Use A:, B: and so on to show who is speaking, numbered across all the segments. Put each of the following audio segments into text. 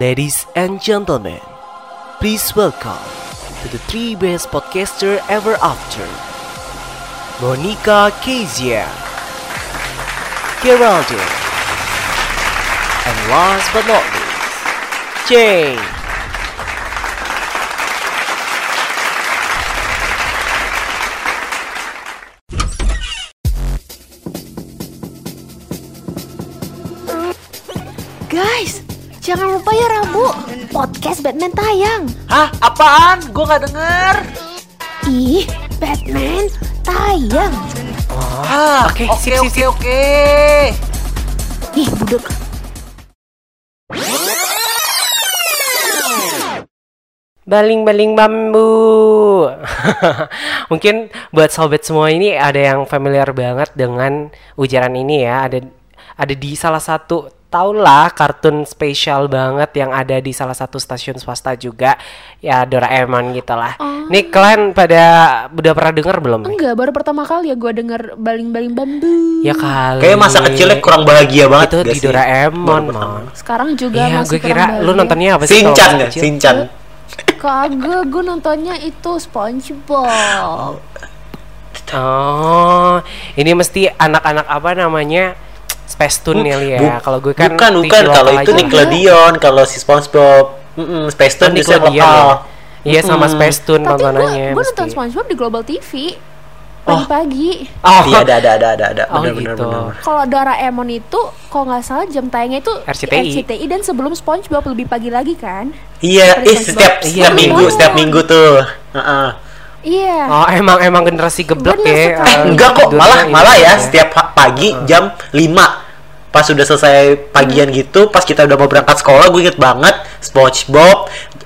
A: Ladies and gentlemen, please welcome to the three best podcaster ever after. Monica Kezia, Geraldine, and last but not least, Jane.
B: Guys, jangan lupa ya Rabu, podcast Batman tayang.
A: Hah? Apaan? Gue gak denger.
B: Ih, Batman tayang.
A: Ah, oke, oke, oke, oke.
B: Ih, budek.
A: Baling-baling bambu. Mungkin buat sobat semua ini ada yang familiar banget dengan ujaran ini ya. Ada ada di salah satu taulah kartun spesial banget yang ada di salah satu stasiun swasta juga ya Doraemon gitu lah. Nih kalian pada udah pernah denger belum nih?
B: Enggak, baru pertama kali ya gue denger baling-baling bambu.
A: Ya kali.
C: Kayaknya masa kecilnya kurang bahagia banget
A: itu
C: gak
A: di
C: sih?
A: Doraemon, Mon.
B: Sekarang juga
A: Iya,
B: masih
A: gue kira
B: kurang
A: lu
B: bahagia.
A: nontonnya apa sih? kalau
C: Sinchan
A: masih
C: ya,
A: kecil?
C: Sinchan.
B: Kagak, gue nontonnya itu SpongeBob.
A: Oh, ini mesti anak-anak apa namanya? Spacetoon ya, Li, ya.
C: Bu-
A: Kalau gue kan
C: bukan
A: TV
C: bukan kalau
A: lokal
C: itu
A: aja.
C: Nickelodeon, kalau si SpongeBob, mm Space Tune
A: Oh,
C: justru yang
A: Nickelodeon
C: lokal.
A: ya. Iya sama Spacetoon
B: Tapi gue
A: tontonannya.
B: gue nonton
A: mesti.
B: SpongeBob di Global TV pagi-pagi.
A: Oh,
C: Iya ada ada ada ada ada.
A: Oh,
C: Benar benar
A: gitu.
C: benar.
B: Kalau Doraemon itu, kalau nggak salah jam tayangnya itu
A: RCTI.
B: RCTI dan sebelum SpongeBob lebih pagi lagi kan?
C: Iya, eh,
B: Dari
C: setiap
B: SpongeBob.
C: setiap
A: Iya,
C: minggu
B: benar.
C: setiap minggu tuh. Heeh.
B: Iya.
A: Oh, emang emang generasi geblek
B: Bener
A: ya.
C: Eh,
B: sekali.
A: eh, gitu.
C: enggak kok,
A: tidurnya
C: malah
A: ini
C: malah ya setiap ha- pagi jam 5 pas sudah selesai pagian gitu, pas kita udah mau berangkat sekolah, gue inget banget SpongeBob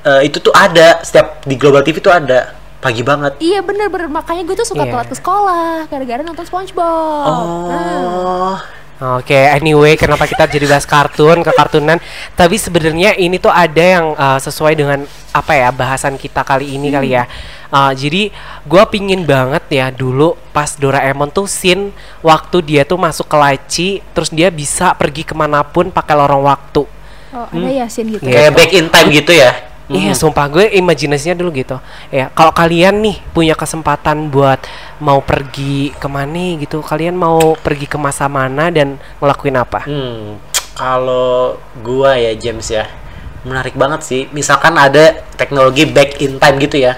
C: eh, itu tuh ada setiap di Global TV tuh ada pagi banget.
B: Iya bener-bener makanya gue tuh suka
A: Iya.
B: telat ke sekolah gara-gara nonton SpongeBob. Nah,
C: Oh.
A: Oke, anyway, kenapa kita jadi bahas kartun, kekartunan? Tapi sebenarnya ini tuh ada yang uh, sesuai dengan apa ya bahasan kita kali ini kali ya. Uh, jadi gua pingin banget ya dulu pas Doraemon tuh scene waktu dia tuh masuk ke laci, terus dia bisa pergi kemanapun pakai lorong waktu.
B: oh, ada Yasin gitu.
A: Iya.
C: Kayak back in time gitu ya.
A: Iya, sumpah gue imajinasinya dulu gitu. Ya, kalau kalian nih punya kesempatan buat mau pergi kemana gitu, kalian mau pergi ke masa mana dan ngelakuin apa?
C: Hmm, kalau gua ya James ya, menarik banget sih. Misalkan ada teknologi back in time gitu ya,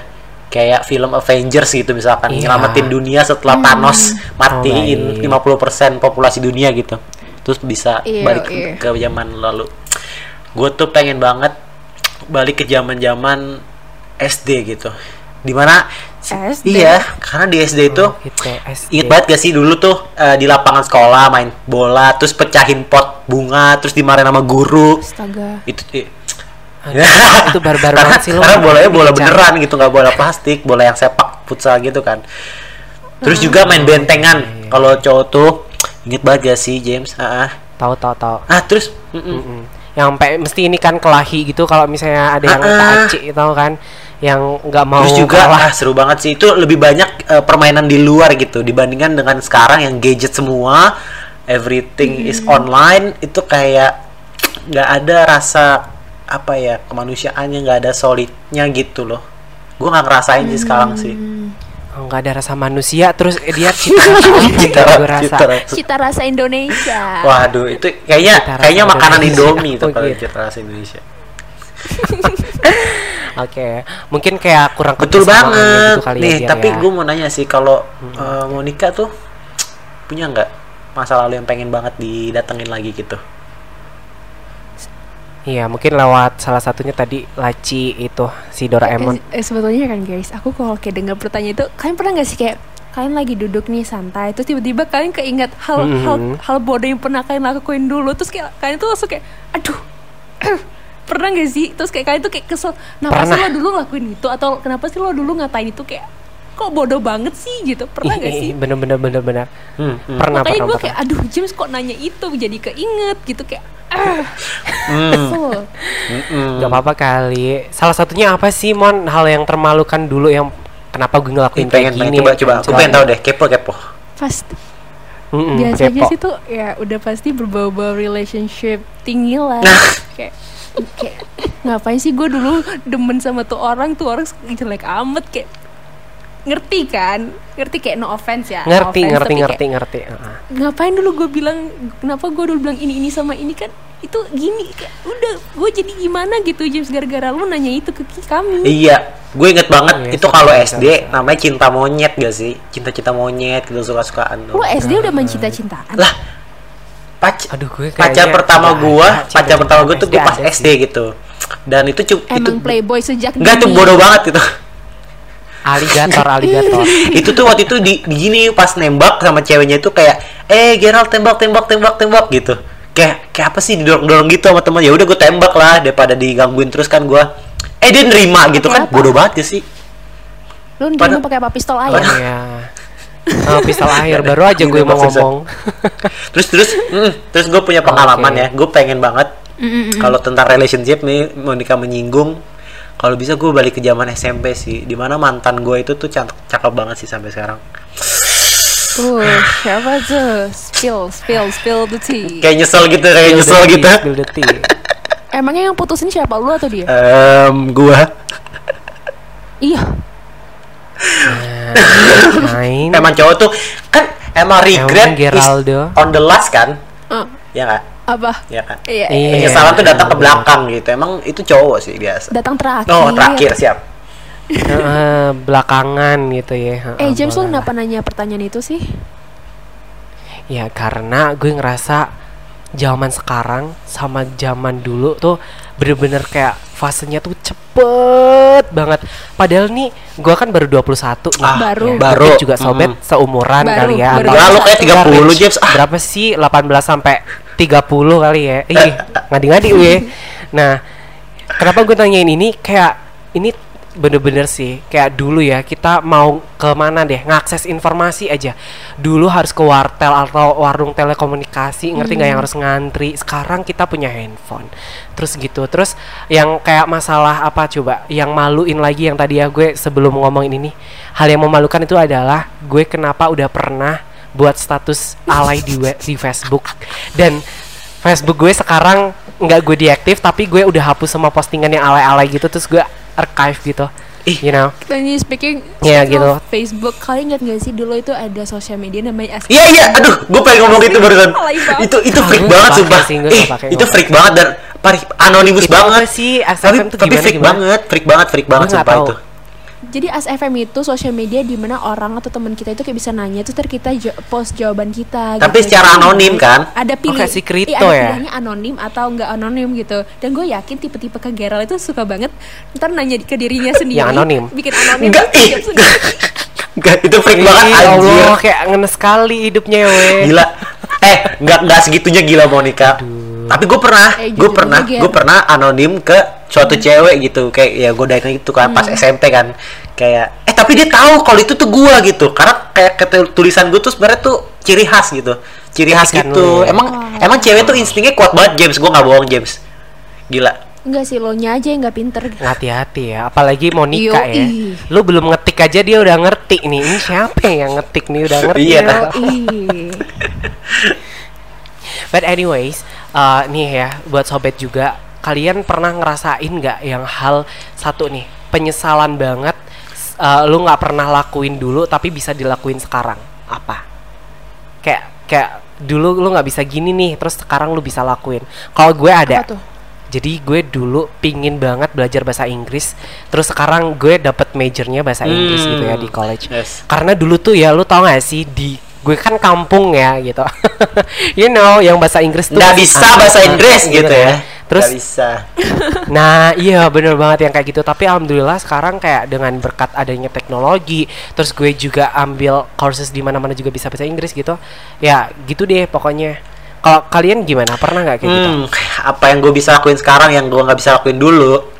C: kayak film Avengers gitu misalkan,
A: Iya.
C: nyelamatin dunia setelah Thanos matiin
A: baik.
C: 50% populasi dunia gitu, terus bisa
B: Iya,
C: balik
B: iya.
C: ke zaman lalu. Gue tuh pengen banget balik ke zaman-zaman SD gitu, dimana
B: SD?
C: iya, karena di SD itu
A: Gitu, SD.
C: Ingat banget gak sih dulu tuh eh, di lapangan sekolah main bola terus pecahin pot bunga terus dimarahin sama guru
B: Astaga.
C: itu eh,
A: Aduh, itu barbar
C: karena,
A: banget sih lo.
C: karena bolanya bola
A: Dikejar.
C: beneran gitu nggak bola plastik bola yang sepak futsal gitu kan terus juga main bentengan kalau cowok tuh inget banget gak sih James ah ah.
A: Tahu tahu tahu.
C: ah terus mm-mm.
A: Mm. Yang pe- mesti ini kan kelahi gitu kalau misalnya ada yang
C: Ah-ah.
A: kacik tahu kan yang nggak mau
C: terus juga
A: kalah.
C: ah, seru banget sih itu lebih banyak eh, permainan di luar gitu dibandingkan dengan sekarang yang gadget semua everything is online itu kayak nggak ada rasa apa ya kemanusiaannya nggak ada solidnya gitu loh gue nggak ngerasain sih sekarang sih
A: Oh, nggak ada rasa manusia terus eh, dia cita cita gue rasa
C: cita rasa.
B: Cita rasa Indonesia.
C: waduh itu kayaknya
A: Cita rasa
C: kayaknya makanan
A: Indonesia.
C: Indomie itu
A: Oh,
C: kalau
A: gitu.
C: cita rasa Indonesia
A: oke mungkin kayak kurang
C: Betul
A: kebersamaannya
C: banget.
A: gitu kali ya,
C: Nih,
A: Dir,
C: tapi
A: ya. Hmm.
C: gue mau nanya sih kalau eh, Monica tuh punya nggak masa lalu yang pengen banget didatengin lagi gitu?
A: iya mungkin lewat salah satunya tadi laci itu si Doraemon
B: Eh, eh, sebetulnya kan guys, aku kalau kayak dengar pertanyaan itu, kalian pernah nggak sih kayak kalian lagi duduk nih santai, terus tiba-tiba kalian keinget hal
A: Hmm.
B: hal hal bodoh yang pernah kalian lakuin dulu, terus kayak kalian tuh langsung kayak, aduh, pernah nggak sih? Terus kayak kalian tuh kayak kesel, kenapa sih
A: Pernah.
B: lo dulu lakuin itu atau kenapa sih lo dulu ngatain itu kayak kok bodoh banget sih gitu? Pernah
A: Ih,
B: nggak
A: ih,
B: sih?
A: bener bener bener bener
C: Hmm,
B: Makanya
A: pernah pernah
B: gue
A: pernah.
B: kayak aduh James kok nanya itu jadi keinget gitu kayak ah
A: Hmm.
C: Hmm,
B: kesel.
A: Gak apa-apa kali. Salah satunya apa sih Mon hal yang termalukan dulu yang kenapa gue ngelakuin
C: Ih, pengen,
A: kayak
C: pengen
A: gini? ya,
C: coba coba. Gue pengen tahu deh, kepo kepo.
B: Pasti
A: Mm-mm,
B: biasanya
A: Hmm, kepo.
B: sih tuh
A: Nah.
B: ya udah pasti berbau-bau relationship tinggi lah. kayak kayak ngapain sih gue dulu demen sama tuh orang tuh orang jelek amat kayak ngerti kan ngerti kayak no offense ya no
A: ngerti
B: offense,
A: ngerti
B: tapi kayak,
A: ngerti ngerti Heeh.
B: ngapain dulu gue bilang kenapa gue dulu bilang ini ini sama ini kan itu gini kayak udah gue jadi gimana gitu James gara-gara lu nanya itu ke ki- kami
C: Iya, gue inget banget
A: Oh, iya,
C: itu
A: sorry,
C: kalau
A: sorry,
C: SD
A: sorry.
C: namanya cinta monyet gak sih? Cinta-cinta monyet gitu suka-sukaan.
B: lu
C: dong.
B: SD udah mencinta-cintaan
C: Lah, pac-
A: Aduh, gue
C: pacar
A: kayaknya
C: pertama
A: nggak
C: gue,
A: ada
C: pacar
A: cinta-cinta
C: pertama gue tuh
A: SD
C: gue pas
A: ada
C: SD gitu. Dan itu cuk, itu
B: emang playboy sejak
C: enggak tuh
B: dini.
C: bodoh banget gitu.
A: aligator aligator
C: itu tuh waktu itu di, di gini pas nembak sama ceweknya itu kayak eh Gerald tembak tembak tembak tembak gitu. Kayak kayak apa sih didorong-dorong gitu sama teman. Ya udah gue tembak lah daripada digangguin terus kan gue. Eh dia nerima gitu kan
B: Pakai apa?
C: bodoh banget gak sih?
B: lu nerima
C: Padahal-
B: pakai apa pistol air
C: Padahal-
A: Iya. Sama pistol air baru aja gue
C: Gila,
A: mau
C: maksud saya.
A: ngomong.
C: terus terus mm, terus gue punya pengalaman
A: Oke.
C: ya gue pengen banget kalau tentang relationship nih Monica menyinggung kalau bisa gue balik ke zaman SMP sih dimana mantan gue itu tuh cakep, cakep banget sih sampai sekarang
B: uh siapa tuh spill spill spill the tea
C: kayak nyesel gitu
A: Iya,
C: kayak nyesel
A: Spill the
C: gitu
A: tea, spill the tea.
B: emangnya yang putusin siapa lu atau
C: Eh.
B: dia
C: Em, gue
B: iya
A: Main.
C: emang cowok tuh kan emang regret
A: Emang Geraldo.
C: is on the last kan
B: Eh,
C: ya nggak
B: apa
C: ya kan
B: iya
A: Iya.
C: penyesalan tuh datang ke belakang gitu emang itu cowok sih biasa
B: datang terakhir
C: oh terakhir siap
A: Heeh, belakangan gitu ya. Heeh,
B: eh James lu
A: boleh lah.
B: kenapa nanya pertanyaan itu sih
A: Ya karena gue ngerasa zaman sekarang sama zaman dulu tuh bener-bener kayak fasenya tuh cepet banget. Padahal nih gue kan baru 21 nih.
C: Ah,
B: Baru.
A: Ya,
C: baru.
A: mungkin juga sobet seumuran
B: Baru,
A: kali ya.
B: baru.
A: atau
C: Enggak, lu kayak 30
A: Average.
C: James ah
A: berapa sih 18 sampai 30 kali ya ih ngadi-ngadi gue nah kenapa gue tanyain ini kayak ini bener-bener sih kayak dulu ya kita mau kemana deh ngakses informasi aja dulu harus ke wartel atau warung telekomunikasi ngerti nggak yang harus ngantri sekarang kita punya handphone terus gitu terus yang kayak masalah apa coba yang maluin lagi yang tadi ya gue sebelum ngomongin ini hal yang memalukan itu adalah gue kenapa udah pernah buat status alay di we- di Facebook dan Facebook gue sekarang nggak gue deaktif tapi gue udah hapus semua postingan yang alay-alay gitu terus gue archive gitu
C: Ih.
A: you know
B: Tanya speaking
A: Iya,
B: speaking
A: gitu.
B: of Facebook Kalian ingat gak sih dulu itu ada sosial media namanya Ask
C: Iya iya, aduh, gue pengen ngomong itu barusan.
B: Alay banget.
C: Itu itu
A: Ah,
C: freak
A: gua
C: banget
A: nggak
C: sumpah.
A: pakai sih, gua
C: Ih,
A: nggak pakai,
C: itu
A: nggak
C: freak banget dan parih anonimus
A: Itu
C: banget.
A: apa sih?
C: Tapi
A: SFM tuh
C: tapi
A: gimana,
C: freak
A: gimana?
C: banget, freak banget, freak banget
A: nggak
C: sumpah
A: tahu.
C: itu.
B: Jadi ASFM itu sosial media di mana orang atau teman kita itu kayak bisa nanya Terus ntar kita jo- post jawaban kita gitu.
C: Tapi secara anonim, kan?
B: Ada pilih
A: Oh, kayak si kripto
B: iya, ada
A: ya?
B: pilihannya anonim atau nggak anonim gitu Dan gue yakin tipe-tipe ke Gerald itu suka banget Ntar nanya ke dirinya sendiri
A: Yang anonim.
B: Bikin anonim
C: Enggak,
B: terus
C: ih.
B: jawab sendiri.
C: Enggak, itu freak banget
A: Ih, ya
C: anjir.
A: Allah kayak ngenes sekali hidupnya we
C: Gila. Eh, enggak enggak segitunya gila Monica. Tapi gue pernah,
B: Eh,
C: gue
B: jujur
C: pernah,
B: dulu, Ger.
C: gue pernah anonim ke suatu cewek gitu kayak ya gue gitu kan pas SMP kan kayak eh tapi dia tahu kalau itu tuh gue gitu karena kayak ketul- tulisan gue tuh sebenarnya tuh ciri khas gitu ciri khas
A: Ketikan
C: gitu
A: lu ya.
C: emang emang cewek tuh instingnya kuat banget James gue nggak bohong James gila
B: Enggak sih, lo nya aja yang nggak pinter
A: hati-hati ya apalagi mau nikah ya
B: Yoi.
A: lu belum ngetik aja dia udah ngerti nih ini siapa yang ngetik nih udah ngerti
C: Iya,
A: ya.
C: tahu.
B: Ih.
A: But anyways, eh, nih ya buat sobat juga, kalian pernah ngerasain nggak yang hal satu nih penyesalan banget, s- eh, lu nggak pernah lakuin dulu tapi bisa dilakuin sekarang apa? Kayak kayak dulu lu nggak bisa gini nih, terus sekarang lu bisa lakuin. Kalau gue ada.
B: Apa tuh?
A: Jadi gue dulu pingin banget belajar bahasa Inggris, terus sekarang gue dapet majornya bahasa Inggris gitu ya
C: Hmm.
A: di college
C: Yes.
A: karena dulu tuh ya lu tau gak sih di gue kan kampung ya gitu you know yang bahasa Inggris tuh
C: nggak
A: masih
C: bisa
A: aneh
C: bahasa
A: banget
C: Inggris gitu ya
A: Iya, terus
C: Nggak bisa
A: nah iya bener banget yang kayak gitu tapi alhamdulillah sekarang kayak dengan berkat adanya teknologi terus gue juga ambil courses di mana mana juga bisa bahasa Inggris gitu ya gitu deh pokoknya kalau kalian gimana pernah nggak kayak gitu
C: Hmm, apa yang gue bisa lakuin sekarang yang gue nggak bisa lakuin dulu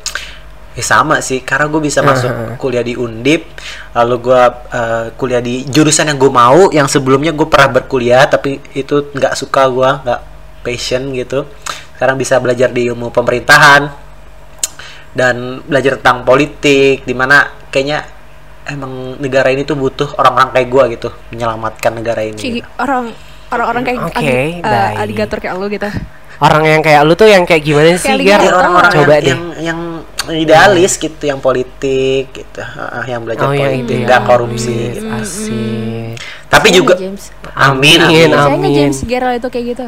C: ya sama sih karena gue bisa masuk kuliah di Undip lalu gue eh, kuliah di jurusan yang gue mau yang sebelumnya gue pernah berkuliah tapi itu nggak suka gue nggak passion gitu sekarang bisa belajar di ilmu pemerintahan dan belajar tentang politik dimana kayaknya emang negara ini tuh butuh orang-orang kayak gue gitu menyelamatkan negara ini
B: Cih,
C: gitu.
B: orang orang-orang kayak
A: Oke,
B: adi- eh,
A: baik.
B: aligator kayak lo gitu
A: orang yang kayak lu tuh yang kayak gimana sih
B: Kayak
A: Gar?
B: Iya,
C: Jadi orang-orang
A: Gitu. coba
C: yang,
A: deh
C: yang yang idealis gitu, yang politik gitu, Ah, ah, yang belajar
A: oh yang
C: politik,
A: itu
C: nggak korupsi.
A: Iya.
C: gitu.
A: asik
C: Tapi
A: Iya,
B: Saya
C: juga
B: nggak, Iya, James.
C: amin amin.
A: Amin,
B: Saya nggak
A: amin.
B: James Gerald itu kayak gitu.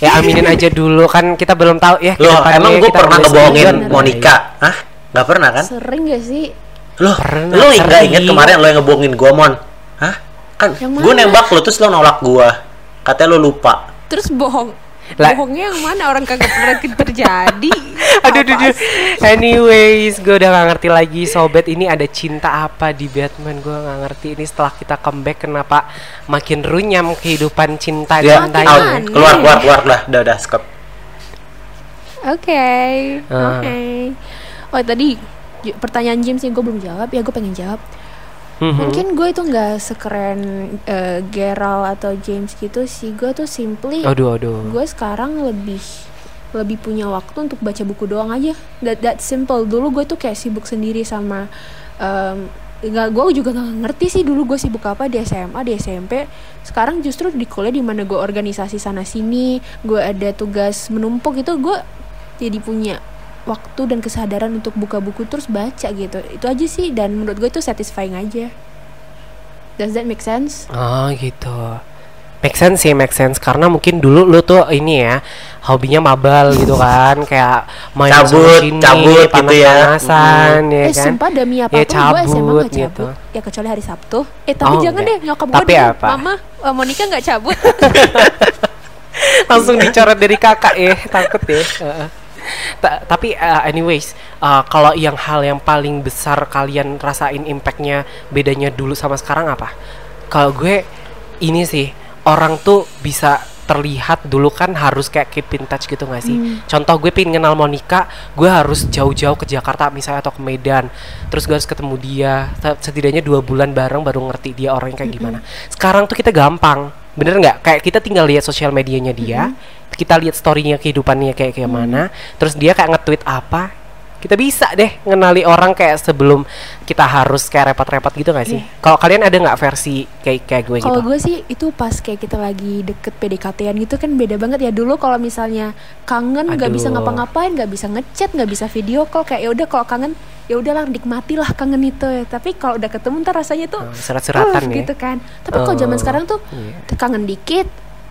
A: ya aminin aja dulu kan kita belum tahu ya ke
C: Loh,
A: depannya
C: emang gue
A: kita
C: pernah
A: boleh
C: ngebohongin
A: sebulan,
C: Monica? Hah? Gak pernah kan?
B: Sering gak sih?
C: Loh,
A: Pernah,
C: lo nggak
A: sering.
C: inget kemarin lo yang ngebohongin gue, Mon? Hah? Kan
B: Yang
C: gue
B: mana?
C: nembak lo terus lo nolak gue. Katanya lo lupa.
B: Terus bohong.
A: Lah.
B: Bohongnya yang mana orang kagak pernah terjadi.
A: Aduh, aduh,
B: Apa
A: aduh.
B: sih?
A: Anyways, gue udah gak ngerti lagi sobat ini ada cinta apa di Batman. Gue gak ngerti ini setelah kita comeback kenapa makin runyam kehidupan cinta
C: Dia
B: Makin
A: dan
C: out.
A: tanya.
B: aneh.
C: Keluar, keluar, keluar. Udah, udah, udah. Skip.
B: Oke,
A: Ah.
B: oke. Oh tadi ju- pertanyaan James yang gue belum jawab, ya gue pengen jawab.
A: Mhm.
B: Mungkin gue itu nggak sekeren eh, Gerald atau James gitu sih. Gue tuh simply
A: Aduh, aduh.
B: gue sekarang lebih lebih punya waktu untuk baca buku doang aja. That, that simple. Dulu gue tuh kayak sibuk sendiri sama em, nggak gue juga nggak ngerti sih dulu gue sibuk apa di SMA di SMP sekarang justru di kuliah di mana gue organisasi sana sini gue ada tugas menumpuk itu gue jadi punya waktu dan kesadaran untuk buka buku terus baca gitu itu aja sih dan menurut gue itu satisfying aja does that make sense
A: Oh gitu. Make sense sih, make sense karena mungkin dulu lu tuh ini ya hobinya mabal gitu kan, kayak main
C: Cabut, cabut gitu ya.
A: panasan ya
B: eh
A: kan.
B: sumpah demi apa
A: Ya,
B: pun gue SMA
A: cabut
B: gak cabut
A: gitu.
B: ya kecuali hari Sabtu eh tapi
A: Oh,
B: jangan
A: enggak.
B: deh nyokap
A: Tapi
B: gue dengar,
A: apa?
B: mama eh, Monica nggak cabut
A: langsung dicoret dari kakak ya takut ya Heeh. Ta- tapi eh, anyways eh, kalau yang hal yang paling besar kalian rasain impactnya bedanya dulu sama sekarang apa kalau gue ini sih orang tuh bisa terlihat dulu kan harus kayak keep in touch gitu gak sih contoh gue pengen kenal Monica gue harus jauh-jauh ke Jakarta misalnya atau ke Medan terus gue harus ketemu dia Se- setidaknya dua bulan bareng baru ngerti dia orangnya kayak gimana sekarang tuh kita gampang bener nggak kayak kita tinggal lihat sosial medianya dia
B: Mm-hmm.
A: kita lihat storynya kehidupannya kayak kayak mana terus dia kayak nge-tweet apa kita bisa deh ngenali orang kayak sebelum kita harus kayak repot-repot gitu gak sih kalau kalian ada nggak versi kayak kayak gue gitu
B: Iya. Kalau gue sih itu pas kayak kita lagi deket PDKT-an gitu kan beda banget ya dulu kalau misalnya kangen nggak bisa
A: Aduh.
B: ngapa-ngapain nggak bisa ngechat nggak bisa video call kayak ya udah kalau kangen ya udahlah nikmatilah kangen itu ya tapi kalau udah ketemu ntar rasanya tuh
A: Oh, surat-suratan
B: "Uh,"
A: ya.
B: gitu kan tapi kalau zaman
A: Oh,
B: sekarang tuh
A: iya.
B: kangen dikit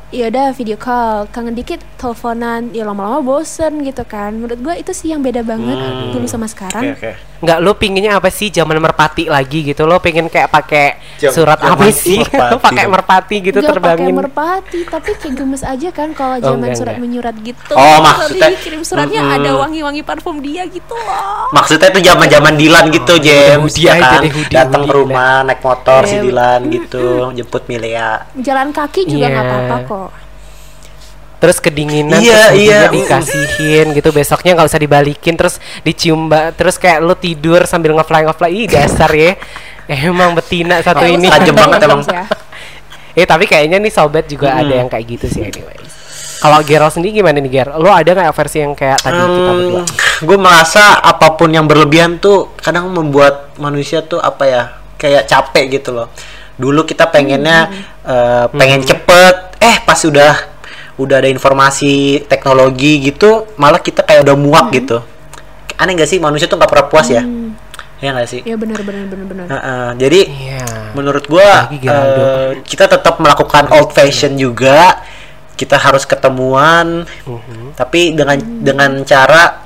B: ya udah video call kangen dikit teleponan ya lama-lama bosen gitu kan menurut gue itu sih yang beda banget dulu sama
A: Kan?
B: sekarang
C: Oke, oke.
A: nggak lo pinginnya apa sih zaman merpati lagi gitu lo pengen kayak pakai
C: Jam-
A: surat
C: zaman
A: apa sih
C: merpati.
A: pakai merpati gitu
B: Nggak pakai
A: terbangin
B: merpati tapi kayak gemes aja kan kalau
A: Oh,
B: zaman
A: enggak,
B: surat
A: enggak.
B: menyurat gitu
C: Oh,
B: Terus
C: maksudnya-
B: dikirim suratnya
C: Mm-mm.
B: ada wangi-wangi parfum dia gitu loh
C: Maksudnya itu zaman-zaman Dilan gitu, James.
A: hoodie
C: Ya
A: Oh, aja
C: kan?
A: deh, hoodie,
C: Datang ke
A: hoodie,
C: rumah naik motor si
B: Iya.
C: Dilan gitu, jemput Milea.
B: jalan kaki juga
A: Iya.
B: nggak apa-apa kok
A: terus
C: Iya,
A: kedinginan terus
C: iya.
A: hoodie-nya dikasihin gitu besoknya nggak usah dibalikin terus dicium ba- terus kayak lo tidur sambil ngefly ngefly ih dasar ya emang betina satu
B: Kayak
A: ini
B: lu
C: Tajam
B: sadar
C: banget
B: ya,
C: emang.
B: James, ya.
A: Eh tapi kayaknya nih sobat juga ada yang kayak gitu sih anyways. Kalau Gerald sendiri gimana nih Gerald? Lo ada nggak versi yang kayak tadi kita berdua?
C: gue merasa apapun yang berlebihan tuh kadang membuat manusia tuh apa ya kayak capek gitu loh dulu kita pengennya eh, pengen cepet eh pas udah udah ada informasi teknologi gitu malah kita kayak udah muak gitu aneh gak sih manusia tuh nggak pernah puas ya ya nggak sih
B: ya benar benar benar benar
C: Heeh, jadi
A: Iya.
C: menurut gua
A: Lagi Geraldo.
C: eh, kita tetap melakukan old fashion juga kita harus ketemuan tapi dengan dengan cara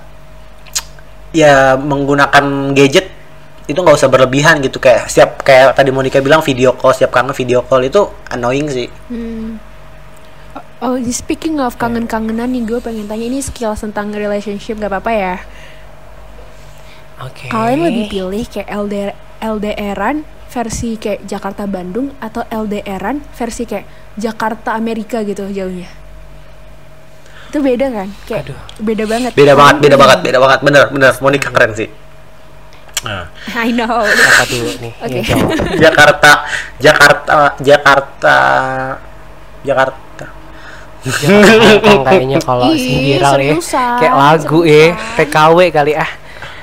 C: ya menggunakan gadget itu nggak usah berlebihan gitu kayak setiap kayak tadi Monica bilang video call setiap kangen video call itu annoying sih
B: Hmm. Oh, di- speaking of kangen-kangenan nih, gue pengen tanya ini skill tentang relationship gak apa-apa ya?
A: Oke.
B: Kalian lebih pilih kayak LDR LDRan versi kayak Jakarta Bandung atau LDRan versi kayak Jakarta Amerika gitu jauhnya. Itu beda kan? Kayak
A: Aduh.
B: beda banget.
C: beda banget beda
B: Kalian-
C: banget beda banget bener bener Monica keren sih Nah,
B: I know.
A: Apa dulu nih?
B: Oke.
A: Yang jawab.
C: Jakarta Jakarta Jakarta Jakarta
A: Jangan ngangkang kayaknya kalau
B: Ih,
A: si Gerald ya.
B: seriusan,
A: Kayak lagu ya,
B: seriusan.
A: TKW kali ah.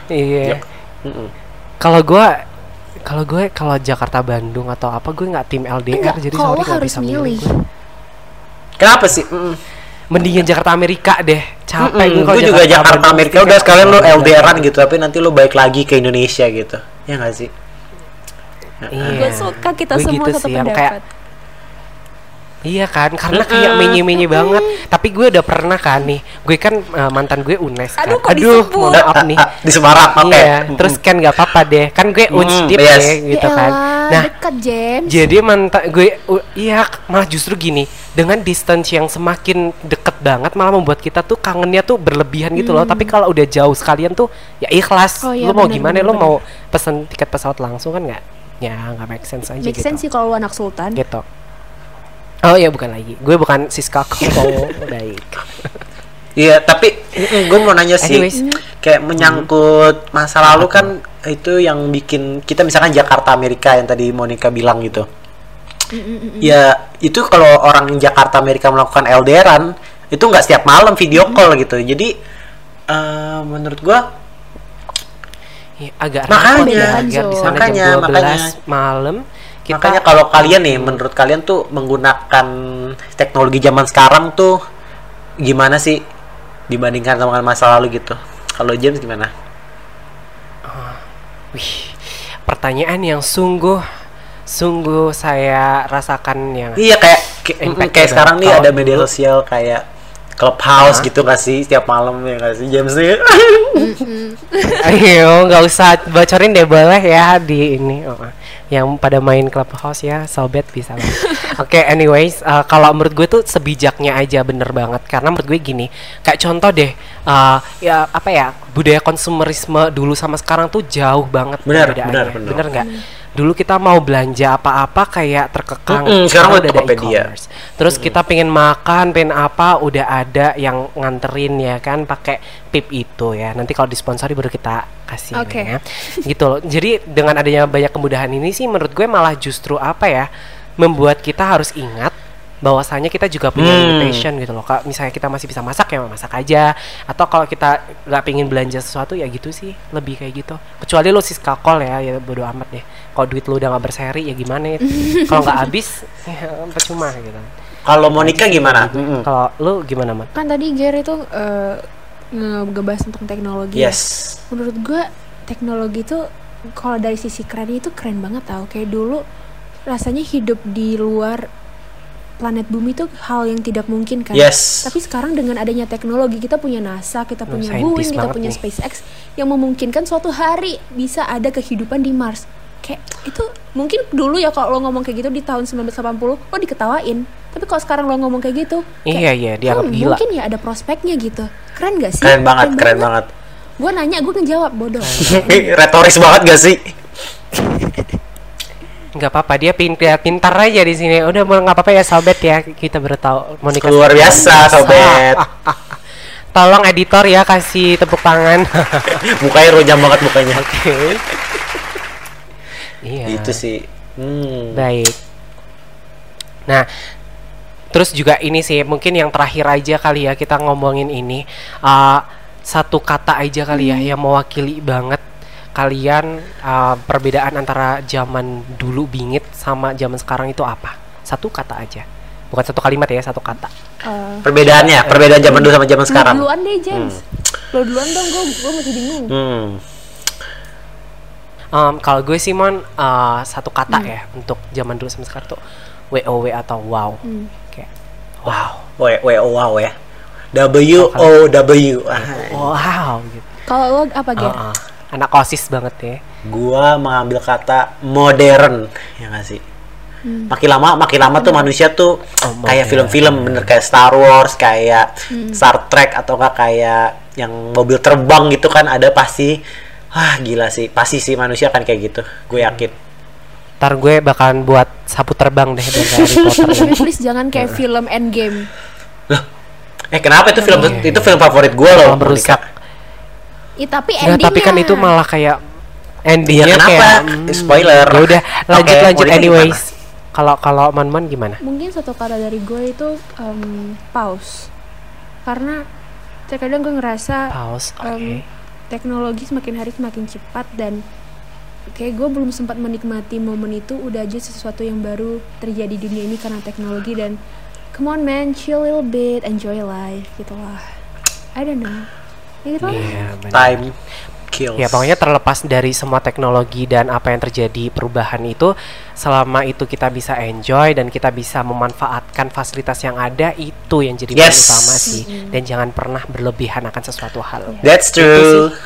A: Iya.
C: Mm-mm.
A: Kalau gua kalau gue kalau Jakarta Bandung atau apa gue nggak tim LDR
B: Enggak,
A: jadi
B: kalau
A: sorry
B: lo
A: nggak
B: harus
A: bisa milih.
B: milih.
A: gue.
C: kenapa sih Mm-mm.
A: mendingan Jakarta Amerika deh capek
C: Iya. Mm-mm,
A: gue kalau
C: gue juga Jakarta
A: Bandung
C: Amerika
A: pasti
C: udah
A: kayak
C: sekalian lo
A: Jakarta.
C: LDRan gitu tapi nanti lo balik lagi ke Indonesia gitu ya nggak sih
A: Iya.
B: Gue suka kita
A: Gue
B: semua
A: gitu
B: satu
A: sih, yang
B: pendapat.
A: kayak- Iya kan, karena kayak menye-menye banget. Tapi gue udah pernah kan nih, gue kan eh, mantan gue UNES kan.
B: Aduh, kok disebut?
A: mohon maaf nih.
C: Ah, di Semarang oke
A: Iya, terus kan nggak apa-apa deh. Kan gue
C: Hmm,
A: UNSDIP
C: yes.
A: deh, gitu
B: Ya
A: kan.
B: elah,
A: Nah,
B: dekat James.
A: jadi mantan gue u- iya malah justru gini, dengan distance yang semakin deket banget malah membuat kita tuh kangennya tuh berlebihan gitu loh. Tapi kalau udah jauh sekalian tuh ya ikhlas.
B: Hmm. Oh, iya,
A: lo mau
B: benar,
A: gimana?
B: benar,
A: Lo
B: benar.
A: mau pesen tiket pesawat langsung kan nggak? Ya nggak make sense aja
B: Make
A: gitu
B: sense sih kalau lu anak sultan.
A: gitu oh iya bukan lagi gue bukan Siska Kopo baik
C: Iya, tapi gue mau nanya sih,
A: Anyways.
C: kayak menyangkut masa lalu kan itu yang bikin kita misalkan Jakarta Amerika yang tadi Monica bilang gitu. Ya itu kalau orang Jakarta Amerika melakukan LDRan itu nggak setiap malam video call gitu. Jadi eh, menurut gue
A: Iya, agak
C: Makanya,
A: repot ya, biar di sana
C: makanya,
A: jam 12
C: makanya.
A: malam kita
C: makanya kalau kalian nih, menurut kalian tuh menggunakan teknologi zaman sekarang tuh gimana sih dibandingkan sama masa lalu gitu? Kalau James gimana?
A: wih, pertanyaan yang sungguh sungguh saya rasakan ya. yang
C: Iya kayak kayak,
A: Impact
C: kayak
A: juga.
C: sekarang nih
A: Kalau
C: ada media sosial kayak clubhouse
A: Hah?
C: gitu gak sih setiap malam ya gak sih James nih
A: ayo nggak usah bocorin deh boleh ya di ini oh, ah. yang pada main clubhouse ya sobat bisa lah. oke anyways eh, kalau menurut gue tuh sebijaknya aja bener banget karena menurut gue gini kayak contoh deh eh, ya apa ya budaya konsumerisme dulu sama sekarang tuh jauh banget
C: Benar,
A: perbedaannya.
C: benar, Iya. benar.
A: bener nggak dulu kita mau belanja apa-apa kayak terkekang
C: Mm-mm, sekarang udah Tokopedia.
A: e-commerce. terus kita pengen makan pengen apa udah ada yang nganterin ya kan pakai pip itu ya nanti kalau disponsori baru kita kasih
B: Oke.
A: ya gitu loh jadi dengan adanya banyak kemudahan ini sih menurut gue malah justru apa ya membuat kita harus ingat bahwasanya kita juga punya
C: Hmm.
A: limitation gitu loh kalau misalnya kita masih bisa masak ya masak aja atau kalau kita nggak pingin belanja sesuatu ya gitu sih lebih kayak gitu kecuali lo siska call ya ya bodo amat deh kalau duit lo udah nggak berseri ya gimana ya kalau nggak habis ya percuma gitu
C: kalau Monica gimana Mm-mm.
A: kalau lo gimana man
B: Kan tadi Gary tuh eh, nge- ngebahas tentang teknologi. ya.
C: yes
B: Menurut gue teknologi tuh kalau dari sisi keren itu keren banget tau. Kayak dulu rasanya hidup di luar planet bumi tuh hal yang tidak mungkin kan.
C: yes
B: Tapi sekarang dengan adanya teknologi kita punya NASA, kita
A: Lu
B: punya
A: saintis
B: Boeing, kita
A: banget
B: punya
A: nih.
B: SpaceX yang memungkinkan suatu hari bisa ada kehidupan di Mars. Kayak itu mungkin dulu ya kalau lo ngomong kayak gitu di tahun 1980 lo oh, diketawain. Tapi kalau sekarang lo ngomong kayak gitu, kayak,
A: Iya, iya, dianggap
B: "Hmm,
A: gila."
B: Mungkin ya ada prospeknya gitu. Keren gak sih?
C: keren banget keren banget
B: Gue nanya, gue ngejawab bodoh.
A: Hmm.
C: retoris banget gak sih
A: nggak apa-apa dia pintar pintar aja di sini udah mau nggak apa-apa ya sobat ya kita baru tahu Monica
C: luar biasa sobat
A: Ah, tolong editor ya kasih tepuk tangan
C: mukanya rojam banget mukanya
A: oke iya
C: itu sih hmm.
A: baik nah terus juga ini sih mungkin yang terakhir aja kali ya kita ngomongin ini Uh, satu kata aja kali ya yang mewakili banget kalian uh, perbedaan antara zaman dulu bingit sama zaman sekarang itu apa satu kata aja bukan satu kalimat ya satu kata
B: Eh,
C: perbedaannya perbedaan zaman dulu sama zaman
B: lo
C: sekarang
B: duluan deh James.
A: Hmm.
B: Lo duluan dong, gue gue masih bingung.
C: hmm.
A: Um, kalau gue sih mon uh, satu kata ya untuk zaman dulu sama sekarang tuh wow atau wow kayak wow
C: wow wow ya W O W
A: wow gitu
B: Kalau lo apa Ger?
A: Uh-uh. anak osis banget ya
C: gua mengambil kata modern ya nggak sih makin lama makin lama tuh manusia tuh kayak
A: Hmm. Oh, modern. Hmm.
C: film-film bener kayak Star Wars kayak Star Trek atau enggak kayak yang mobil terbang gitu kan ada pasti wah gila sih pasti sih manusia kan kayak gitu gue
A: Hmm.
C: yakin
A: ntar gue bakalan buat sapu terbang deh dari Harry Potter ya.
B: Please jangan kayak film Endgame.
C: eh kenapa itu
A: Iya,
C: film itu film favorit gue loh
A: Kalau merusak
C: Monica.
B: Ih, tapi
A: Nggak,
B: endingnya.
A: tapi kan itu malah kayak
C: Iya,
A: endingnya
C: kenapa?
A: kayak
C: Spoiler.
A: ya udah lanjut
C: Oke,
A: lanjut
C: Monica
A: anyways kalau kalau man-man gimana
B: Mungkin satu kata dari gue itu em, pause. Karena terkadang gue ngerasa
A: pause oke
B: em,
A: Iya,
B: teknologi semakin hari semakin cepat dan kayak gue belum sempat menikmati momen itu udah aja sesuatu yang baru terjadi di dunia ini karena teknologi dan come on man chill a little bit enjoy life gitu lah I don't know ya gitu lah.
A: Iya, benar.
C: Time kills.
A: Ya pokoknya terlepas dari semua teknologi dan apa yang terjadi perubahan itu selama itu kita bisa enjoy dan kita bisa memanfaatkan fasilitas yang ada itu yang jadi poin
C: Yes.
A: utama sih dan jangan pernah berlebihan akan sesuatu hal.
C: That's true.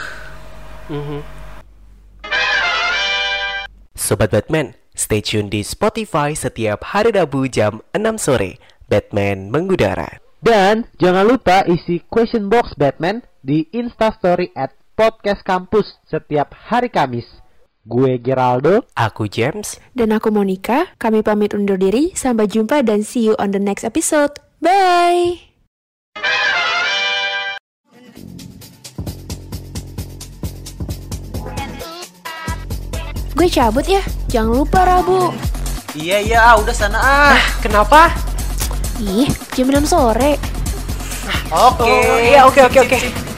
A: Sobat Batman, stay tune di Spotify setiap hari Rabu jam 6 sore. Batman mengudara.
D: Dan jangan lupa isi question box Batman di Instastory at Podcast Kampus setiap hari Kamis. Gue Geraldo,
A: Aku James.
B: dan aku Monica kami pamit undur diri sampai jumpa dan see you on the next episode bye Gue cabut ya, jangan lupa Rabu.
C: Iya iya ah, udah sana ah.
A: Kenapa?
B: Ih, jam 6 sore.
C: Oke.
A: Oh, iya, oke, oke,
C: Sip,
A: oke.
C: sip, sip.